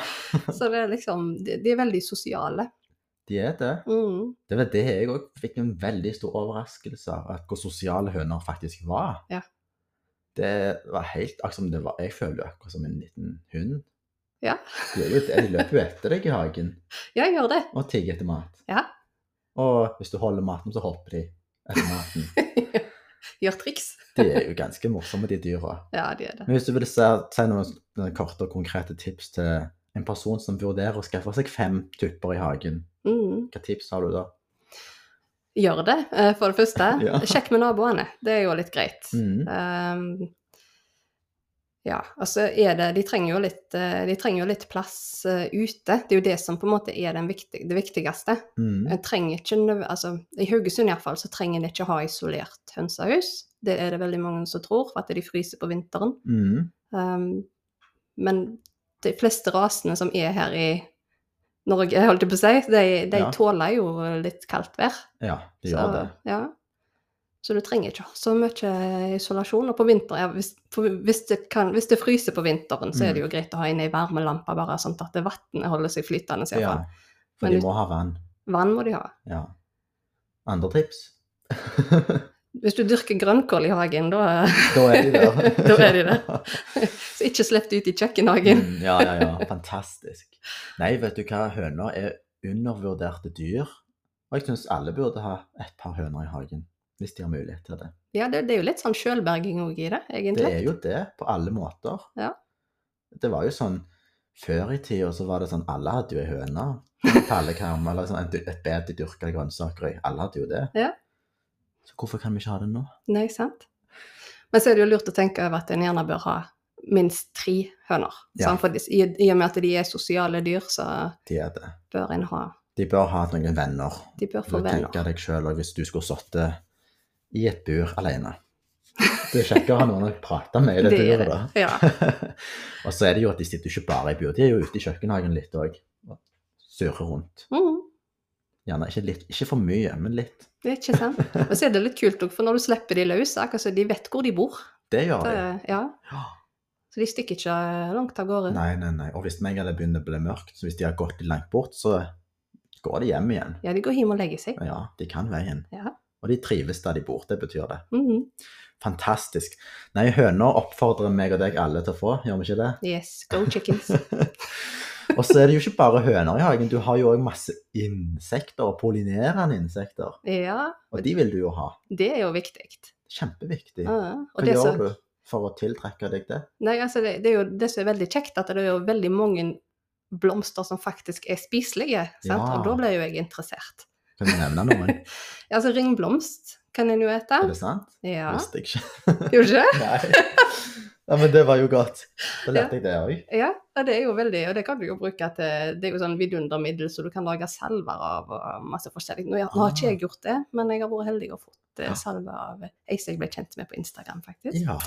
Speaker 2: så det er liksom De, de er veldig sosiale.
Speaker 1: De er det.
Speaker 2: Mm,
Speaker 1: Det var det jeg òg fikk en veldig stor overraskelse av, at hvor sosiale høner faktisk var.
Speaker 2: Ja.
Speaker 1: Det var helt akkurat som det var Jeg føler jo akkurat som en liten hund.
Speaker 2: Ja.
Speaker 1: De, er jo, det. de løper jo etter deg i hagen.
Speaker 2: ja, jeg gjør det.
Speaker 1: og tigger etter mat.
Speaker 2: Ja.
Speaker 1: Og hvis du holder maten, så hopper de etter maten.
Speaker 2: Gjør triks.
Speaker 1: De er jo ganske morsomme, de dyra.
Speaker 2: Ja, de er det.
Speaker 1: Men hvis du vil si, si noen sånne korte og konkrete tips til en person som vurderer å skaffe seg fem tupper i hagen,
Speaker 2: Mm.
Speaker 1: hva tips har du da?
Speaker 2: Gjør det, eh, for det første.
Speaker 1: Ja.
Speaker 2: Sjekk med naboene. Det er jo litt greit.
Speaker 1: Mm.
Speaker 2: Um, ja, altså er det De trenger jo litt, eh, de trenger jo litt plass eh, ute. Det er jo det som på en måte er den viktig, det viktigste.
Speaker 1: Mm.
Speaker 2: En trenger ikke nød- altså, I Haugesund iallfall så trenger en ikke ha isolert hønsehus. Det er det veldig mange som tror, for at de fryser på vinteren.
Speaker 1: Mm.
Speaker 2: Um, men de fleste rasene som er her i Norge, holdt jeg på å si, de, de
Speaker 1: Ja.
Speaker 2: tåler jo litt kaldt vær.
Speaker 1: Ja, de
Speaker 2: Så,
Speaker 1: gjør det.
Speaker 2: Ja. Så du trenger ikke ha så mye isolasjon. Og på vinteren, ja, hvis, for hvis, det kan, hvis det fryser på vinteren, så
Speaker 1: Mm.
Speaker 2: er det jo greit å ha inne ei varmelampe, bare sånn at vannet holder seg flytende. i hvert
Speaker 1: Ja.
Speaker 2: fall.
Speaker 1: For
Speaker 2: Men
Speaker 1: de
Speaker 2: ut-
Speaker 1: må ha vann.
Speaker 2: Vann må de ha.
Speaker 1: Ja. Andre tips?
Speaker 2: Hvis du dyrker grønnkål i hagen, da
Speaker 1: Da er de der.
Speaker 2: Da er de Så ikke slipp det ut i kjøkkenhagen.
Speaker 1: Mm, ja, ja, ja. Fantastisk. Nei, vet du hva, høner er undervurderte dyr. Og jeg syns alle burde ha et par høner i hagen, hvis de har mulighet til det.
Speaker 2: Ja, det, det er jo litt sånn sjølberging òg i det,
Speaker 1: Det
Speaker 2: egentlig.
Speaker 1: er jo det, på alle måter.
Speaker 2: Ja.
Speaker 1: Det var jo sånn Før i tida så var det sånn alle hadde jo ei høne. En Pallekarm eller sånn, et et bed de dyrka grønnsaker i. Alle hadde jo det.
Speaker 2: Ja.
Speaker 1: Så hvorfor kan vi ikke ha det nå?
Speaker 2: Nei, sant? Men så er det jo lurt å tenke over at en gjerne bør ha minst tre høner.
Speaker 1: Ja.
Speaker 2: sant? For de- i, I og med at de er sosiale dyr, så
Speaker 1: De er det.
Speaker 2: bør en ha
Speaker 1: De bør ha noen venner.
Speaker 2: De bør
Speaker 1: Du
Speaker 2: få venner.
Speaker 1: tenker deg sjøl hvis du skulle sittet i et bur alene. Det er kjekkere å ha noen å prate med i det,
Speaker 2: Det er
Speaker 1: buret, da.
Speaker 2: Ja.
Speaker 1: og så er det jo at de sitter jo ikke bare i bur, de er jo ute i kjøkkenhagen litt òg. Surrer rundt.
Speaker 2: Mm,
Speaker 1: Gjerne ikke litt, ikke for mye, men litt.
Speaker 2: det er ikke sant. Og så er det litt kult òg, for når du slipper de løs, akkurat så de vet hvor de bor.
Speaker 1: Det gjør de.
Speaker 2: Det, ja.
Speaker 1: Ja.
Speaker 2: Så de stikker ikke langt av gårde.
Speaker 1: Nei, nei, nei. Og hvis meg hadde begynt å bli mørkt, så hvis de har gått litt langt bort, så går de hjem igjen.
Speaker 2: Ja, de går hjem og legger seg.
Speaker 1: Ja, de kan veien.
Speaker 2: Ja.
Speaker 1: Og de trives der de bor, det betyr det.
Speaker 2: Mhm.
Speaker 1: Fantastisk. Nei, høner oppfordrer meg og deg alle til å få, gjør vi ikke det?
Speaker 2: Yes, go chickens.
Speaker 1: og så er det jo ikke bare høner i hagen, du har jo òg masse insekter, pollinerende insekter.
Speaker 2: Ja,
Speaker 1: Og de vil du jo ha.
Speaker 2: det er jo viktig.
Speaker 1: Kjempeviktig.
Speaker 2: Ja, ja. Ah, Og
Speaker 1: Hva
Speaker 2: det
Speaker 1: gjør
Speaker 2: som-
Speaker 1: du for å tiltrekke deg det?
Speaker 2: Nei, altså det, det er jo det som er veldig kjekt, at det er jo veldig mange blomster som faktisk er spiselige, sant?
Speaker 1: Ja.
Speaker 2: og da blir jo jeg interessert.
Speaker 1: Kan du nevne noen?
Speaker 2: Ja, Altså ringblomst kan en jo ete.
Speaker 1: Er det sant?
Speaker 2: Ja,
Speaker 1: Visste jeg ikke.
Speaker 2: gjorde ikke?
Speaker 1: Nei. Ja, men det var jo godt. Da lærte jeg det òg.
Speaker 2: Ja, ja, det er jo veldig, og det kan du jo bruke til Det er jo sånn vidundermiddel som du kan lage salver av og masse forskjellig. Nå, nå har ikke jeg gjort det, men jeg har vært heldig og fått eh,
Speaker 1: Ah. Ja.
Speaker 2: salve av ei som jeg ble kjent med på Instagram, faktisk.
Speaker 1: Ja.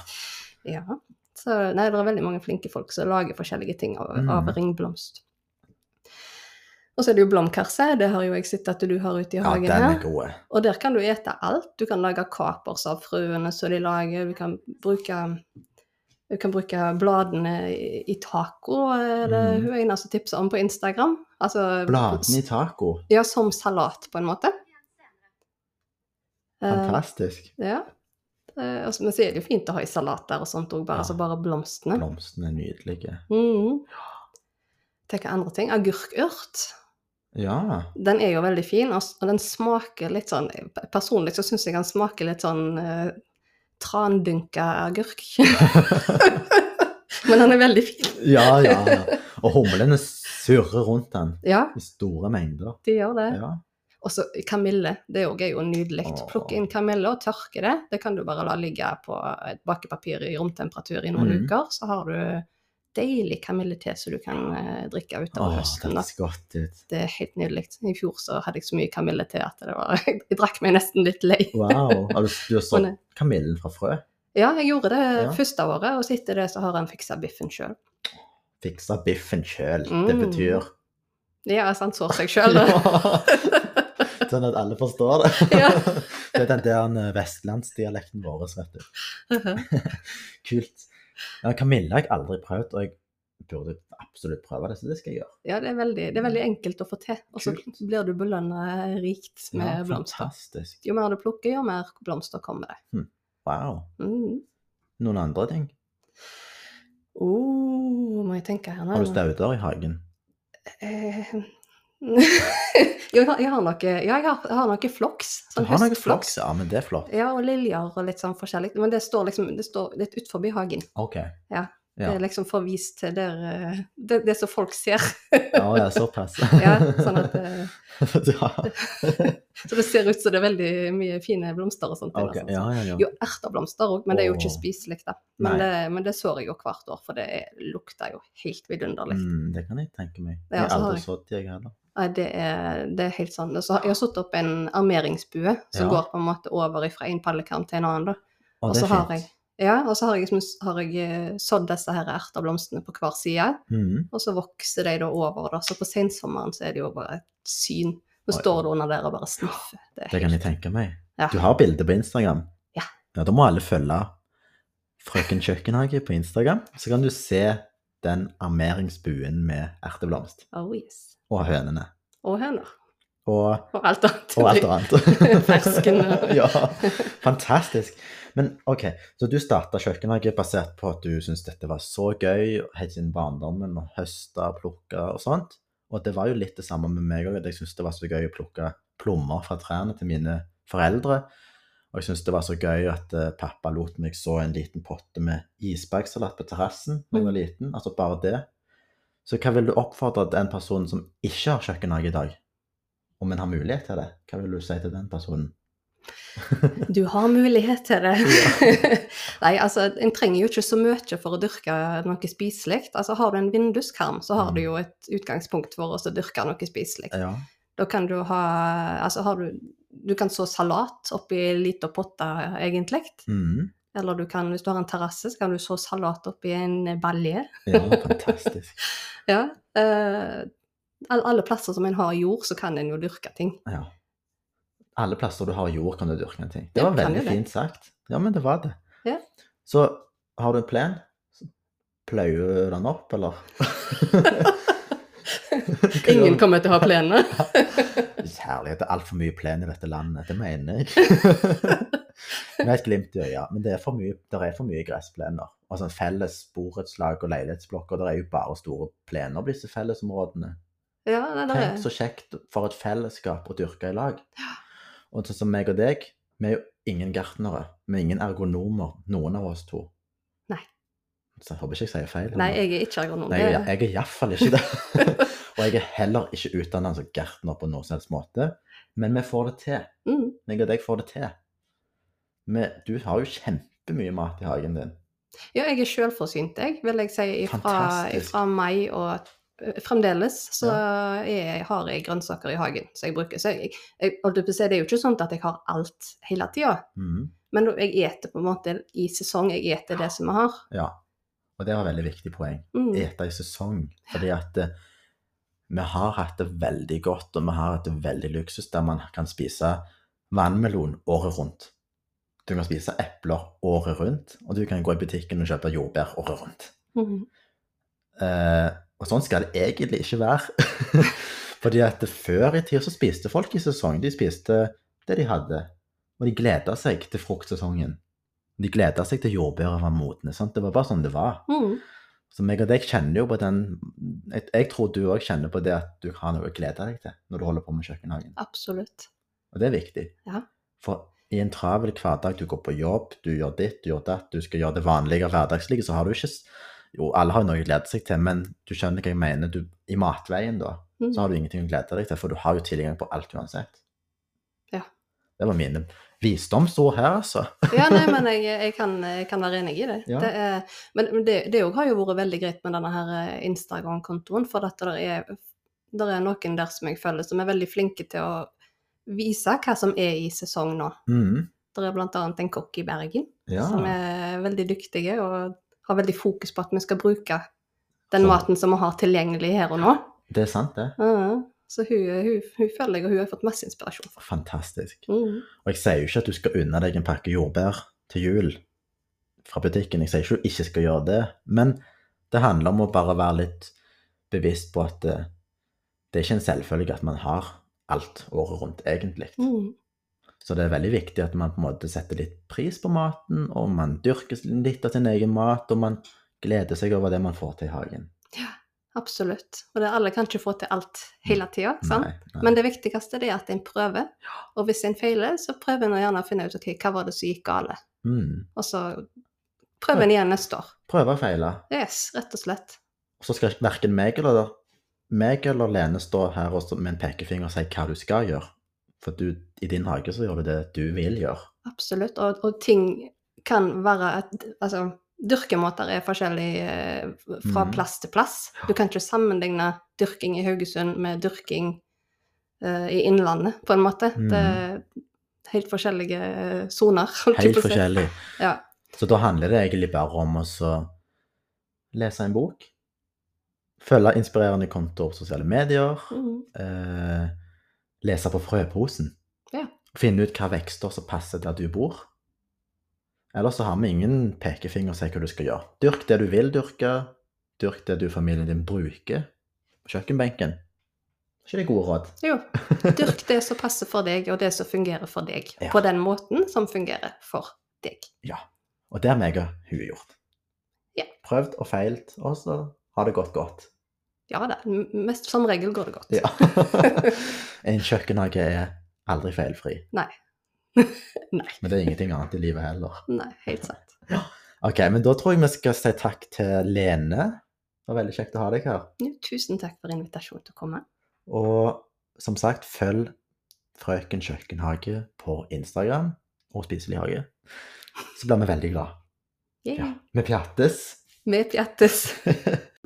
Speaker 2: Ja. Så nei, det er veldig mange flinke folk som lager forskjellige ting av,
Speaker 1: Mm.
Speaker 2: av ringblomst. Og så er det jo blomkarse, det har jo jeg sett at du har ute i
Speaker 1: ja,
Speaker 2: hagen
Speaker 1: den er
Speaker 2: her.
Speaker 1: god.
Speaker 2: Og der kan du ete alt. Du kan lage kapers av fruene som de lager, du kan bruke du kan bruke bladene i i taco, er det
Speaker 1: Mm.
Speaker 2: hun ene som tipser om på Instagram. Altså,
Speaker 1: Bladene i taco.
Speaker 2: Ja, som salat, på en måte. Eh,
Speaker 1: Fantastisk.
Speaker 2: ja. Eh, altså, men så er det jo fint å ha i salater og sånt òg, bare,
Speaker 1: Ja.
Speaker 2: altså bare blomstene.
Speaker 1: Blomstene er nydelige.
Speaker 2: Mm. Tenk andre ting. Agurkurt.
Speaker 1: Ja.
Speaker 2: Den er jo veldig fin, og s- og den smaker litt sånn Personlig så syns jeg den smaker litt sånn eh, trandynka agurk. Men den er veldig fin.
Speaker 1: ja, ja, ja. Og humlene surrer rundt den
Speaker 2: Ja,
Speaker 1: i store mengder.
Speaker 2: de gjør det.
Speaker 1: Ja.
Speaker 2: Og så kamille. Det òg er jo nydelig.
Speaker 1: Åh.
Speaker 2: Plukke inn kamille og tørke det. Det kan du bare la ligge på et bakepapir i romtemperatur i noen
Speaker 1: Mhm.
Speaker 2: uker, så har du deilig kamillete som du kan eh, drikke utover
Speaker 1: Åh, det
Speaker 2: høsten. da.
Speaker 1: høres godt ut.
Speaker 2: Det er helt nydelig. I fjor så hadde jeg så mye kamillete at det var, jeg drakk meg nesten litt lei.
Speaker 1: Wow. Har du, du har sådd kamillen fra frø?
Speaker 2: Ja, jeg gjorde det
Speaker 1: Ja.
Speaker 2: første året, og så etter det så har han fiksa biffen sjøl.
Speaker 1: Fiksa biffen sjøl. Det
Speaker 2: Mm.
Speaker 1: betyr
Speaker 2: Ja, så han sår seg sjøl.
Speaker 1: Sånn at alle forstår det.
Speaker 2: Ja.
Speaker 1: Det er den der eh, vestlandsdialekten vår, vet du. Kult. Ja, Kamilla har jeg aldri prøvd, og jeg burde absolutt prøve det, så det skal jeg gjøre.
Speaker 2: ja, det er, veldig, det er veldig enkelt å få til, og så
Speaker 1: Kult.
Speaker 2: blir du belønna rikt med
Speaker 1: Ja,
Speaker 2: blomster.
Speaker 1: Fantastisk.
Speaker 2: Jo mer du plukker, jo mer blomster kommer det.
Speaker 1: Wow.
Speaker 2: Mm.
Speaker 1: Noen andre ting?
Speaker 2: Oh, må jeg tenke her nå
Speaker 1: Har du stauder i hagen?
Speaker 2: Eh, jo, jeg har, jeg har noe, ja, jeg har, jeg har noe floks.
Speaker 1: Du
Speaker 2: Sånn
Speaker 1: har noe
Speaker 2: høstfloks.
Speaker 1: flaks, ja, men det er flott.
Speaker 2: Ja, og liljer og litt sånn forskjellig. Men det står liksom det står litt utenfor hagen.
Speaker 1: Ok.
Speaker 2: Det
Speaker 1: Ja.
Speaker 2: er liksom forvist til der, eh, det, det som folk ser.
Speaker 1: Ja, ja, såpass.
Speaker 2: Ja, sånn at, eh,
Speaker 1: ja.
Speaker 2: så det ser ut som det er veldig mye fine blomster og sånt. i det,
Speaker 1: ok,
Speaker 2: sånn,
Speaker 1: ja,
Speaker 2: sånn.
Speaker 1: ja, ja.
Speaker 2: Jo, erteblomster òg, men det er jo ikke
Speaker 1: Åh.
Speaker 2: spiselig, da. Men
Speaker 1: Nei.
Speaker 2: det, men det sår jeg jo hvert år, for det er- lukter jo helt vidunderlig.
Speaker 1: Mm, det kan jeg tenke meg.
Speaker 2: Ja,
Speaker 1: Jeg har
Speaker 2: så har
Speaker 1: aldri
Speaker 2: jeg-
Speaker 1: sådd, jeg heller.
Speaker 2: Nei, Det, er, det er helt sånn. Og Så har, jeg har satt opp en armeringsbue
Speaker 1: Ja.
Speaker 2: som går på en måte over fra en pallekarm til en annen. da.
Speaker 1: Å,
Speaker 2: Og
Speaker 1: det
Speaker 2: så
Speaker 1: er
Speaker 2: har
Speaker 1: fint.
Speaker 2: Ja, og så har jeg, liksom- har jeg eh, sådd disse her erteblomstene på hver side,
Speaker 1: Mm.
Speaker 2: og så vokser de da over. da. Så på sensommeren så er det jo bare et syn. Nå
Speaker 1: Oi.
Speaker 2: står du under der og bare sniffer. Det er
Speaker 1: Det kan
Speaker 2: helt-
Speaker 1: jeg tenke meg.
Speaker 2: Ja.
Speaker 1: Du har bilder på Instagram?
Speaker 2: Ja.
Speaker 1: ja. Da må alle følge Frøken Kjøkkenhage på Instagram. Så kan du se den armeringsbuen med erteblomst
Speaker 2: Oh yes.
Speaker 1: og hønene.
Speaker 2: Og høner.
Speaker 1: og,
Speaker 2: Og alt annet.
Speaker 1: og alt annet.
Speaker 2: Fersken og-
Speaker 1: ja, fantastisk. Men OK, så du starta kjøkkenhage basert på at du syntes dette var så gøy helt siden barndommen, og høste, plukke og sånt. Og det var jo litt det samme med meg òg, at jeg syntes det var så gøy å plukke plommer fra trærne til mine foreldre. Og jeg syntes det var så gøy at eh, pappa lot meg så en liten potte med isbergsalat på terrassen da jeg var liten. Altså bare det. Så hva vil du oppfordre den personen som ikke har kjøkkenhage i dag, om en har mulighet til det? Hva vil du si til den personen?
Speaker 2: Du har mulighet til det. Nei, altså, en trenger jo ikke så mye for å dyrke noe spiselig. Altså, har du en vinduskarm, så har du jo et utgangspunkt for å dyrke noe spiselig.
Speaker 1: Ja.
Speaker 2: Da kan du ha Altså, har du Du kan så salat oppi ei lita potte, egentlig.
Speaker 1: Mhm.
Speaker 2: Eller du kan, hvis du har en terrasse, så kan du så salat oppi en balje.
Speaker 1: ja, fantastisk.
Speaker 2: Ja. eh, all- alle plasser som en har jord, så kan en jo dyrke ting.
Speaker 1: Ja. Alle plasser du har jord, kan du dyrke en ting. Det
Speaker 2: Ja,
Speaker 1: var
Speaker 2: kan
Speaker 1: veldig
Speaker 2: jo det.
Speaker 1: fint sagt. Ja, men det var det.
Speaker 2: Ja.
Speaker 1: Så har du en plen, så pløyer du den opp, eller?
Speaker 2: Ingen kommer til å ha plenen.
Speaker 1: Kjærlighet er altfor mye plen i dette landet, det mener jeg. Med et glimt i øyet. Men det er for mye, der er for mye gressplener. Altså en felles borettslag og leilighetsblokker, det er jo bare store plener på disse fellesområdene.
Speaker 2: Ja, nei, det
Speaker 1: Tenk
Speaker 2: er
Speaker 1: så kjekt for et fellesskap å dyrke i lag. Og sånn som meg og deg, vi er jo ingen gartnere. Vi er ingen ergonomer, noen av oss to.
Speaker 2: Nei.
Speaker 1: Så jeg håper ikke jeg sier feil.
Speaker 2: Nei, jeg er ikke agronom.
Speaker 1: Nei,
Speaker 2: det-
Speaker 1: jeg, jeg er iallfall ikke det. og jeg er heller ikke utdanna som gartner på noen som helst måte. Men vi får det til.
Speaker 2: Mm.
Speaker 1: Jeg og deg får det til. Vi, du har jo kjempemye mat i hagen din.
Speaker 2: Ja, jeg er selvforsynt, jeg, vil jeg si. Fra,
Speaker 1: Fantastisk.
Speaker 2: meg og eh, fremdeles så er, har jeg grønnsaker i hagen som jeg bruker. Så jeg, jeg, holdt jeg på å si, det er jo ikke sånn at jeg har alt hele tida,
Speaker 1: Mhm.
Speaker 2: men da- jeg eter på en måte i sesong. Jeg eter
Speaker 1: Ah.
Speaker 2: det som vi har.
Speaker 1: Ja. Og det var et veldig viktig poeng.
Speaker 2: Mm.
Speaker 1: ete i sesong. Fordi at eh, vi har hatt det veldig godt, og vi har hatt det veldig luksus der man kan spise vannmelon året rundt. Du kan spise epler året rundt, og du kan gå i butikken og kjøpe jordbær året rundt.
Speaker 2: Mm.
Speaker 1: Eh, og sånn skal det egentlig ikke være. Fordi at før i tida så spiste folk i sesong. De spiste det de hadde. Og de gleda seg til fruktsesongen. De gleda seg til jordbæret var modne. sant? Det var bare sånn det var.
Speaker 2: Mm.
Speaker 1: Så meg og deg kjenner jo på den Jeg, jeg tror du òg kjenner på det at du har noe å glede deg til når du holder på med kjøkkenhagen.
Speaker 2: Absolutt.
Speaker 1: Og det er viktig.
Speaker 2: Ja.
Speaker 1: For i en travel hverdag, du går på jobb, du gjør ditt, du gjør datt, du skal gjøre det vanlige hverdagslige, så har du ikke s- Jo, alle har jo noe å glede seg til, men du skjønner hva jeg mener. Du, I matveien, da,
Speaker 2: Mm.
Speaker 1: så har du ingenting å glede deg til, for du har jo tilgang på alt uansett.
Speaker 2: Ja.
Speaker 1: Det var mine visdomsord her, altså.
Speaker 2: Ja, nei, men jeg, jeg, kan, jeg kan være enig i det.
Speaker 1: Ja.
Speaker 2: det er, men men det det òg har jo vært veldig greit med denne her eh, Instagram-kontoen, for at det er, der er noen der som jeg føler som er veldig flinke til å vise hva som er i sesong nå.
Speaker 1: Mhm.
Speaker 2: Det er bl.a. en kokk i Bergen
Speaker 1: ja.
Speaker 2: som er veldig dyktige og har veldig fokus på at vi skal bruke den
Speaker 1: Så-
Speaker 2: maten som vi har tilgjengelig her og nå.
Speaker 1: Det er sant, det.
Speaker 2: Ja, så hun, hun, hun føler jeg og hun har fått masse inspirasjon fra.
Speaker 1: Fantastisk.
Speaker 2: Mm.
Speaker 1: Og jeg sier jo ikke at du skal unne deg en pakke jordbær til jul fra butikken. Jeg sier ikke at du ikke skal gjøre det, men det handler om å bare være litt bevisst på at eh, det er ikke en selvfølge at man har alt året rundt, egentlig.
Speaker 2: Mm.
Speaker 1: Så det er veldig viktig at man på en måte setter litt pris på maten, og man dyrker litt av sin egen mat, og man gleder seg over det man får til i hagen.
Speaker 2: Absolutt. Og det, alle kan ikke få til alt hele tida, sant?
Speaker 1: Nei, nei.
Speaker 2: Men det viktigste det er at en prøver, og hvis en feiler, så prøver en å gjerne finne ut ok, hva var det som gikk gale,
Speaker 1: Mm.
Speaker 2: og så prøver en igjen neste år.
Speaker 1: Prøve og feile.
Speaker 2: Yes, rett og slett.
Speaker 1: Og så skal verken meg eller, meg eller Lene stå her og så- med en pekefinger og si hva du skal gjøre. For du, i din hage så gjør du det du vil gjøre.
Speaker 2: Absolutt. Og, og ting kan være et, Altså, dyrkemåter er forskjellig eh, fra
Speaker 1: Mhm.
Speaker 2: plass til plass. Du kan ikke sammenligne dyrking i Haugesund med dyrking eh, i Innlandet, på en måte.
Speaker 1: Mhm.
Speaker 2: Det er helt forskjellige eh, soner. holdt jeg
Speaker 1: Helt
Speaker 2: på å si.
Speaker 1: forskjellig.
Speaker 2: Ja.
Speaker 1: Så da handler det egentlig bare om å så lese en bok, følge inspirerende kontoer på sosiale medier,
Speaker 2: Mhm.
Speaker 1: eh, lese på frøposen.
Speaker 2: Ja.
Speaker 1: Finne ut hva vekster som passer der du bor. Ellers så har vi ingen pekefinger som sier hva du skal gjøre. Dyrk det du vil dyrke. Dyrk det du og familien din bruker på kjøkkenbenken. ikke det gode råd?
Speaker 2: Jo. Dyrk det som passer for deg, og det som fungerer for deg.
Speaker 1: Ja.
Speaker 2: På den måten som fungerer for deg.
Speaker 1: Og det har meg og hun gjort.
Speaker 2: Ja.
Speaker 1: Prøvd og feilt, og så har det gått godt.
Speaker 2: Ja da, m- mest som regel går det godt.
Speaker 1: Ja. en kjøkkenhage er aldri feilfri.
Speaker 2: Nei. Nei.
Speaker 1: Men det er ingenting annet i livet heller.
Speaker 2: Nei, helt sant.
Speaker 1: Ok, men da tror jeg vi skal si takk til Lene. Det var veldig kjekt å ha deg her.
Speaker 2: Jo, Tusen takk for invitasjonen til å komme.
Speaker 1: Og som sagt, følg Frøken kjøkkenhage på Instagram og Spiselig hage. Så blir vi veldig glad.
Speaker 2: Yay.
Speaker 1: Ja. Vi pjattes.
Speaker 2: Vi pjattes.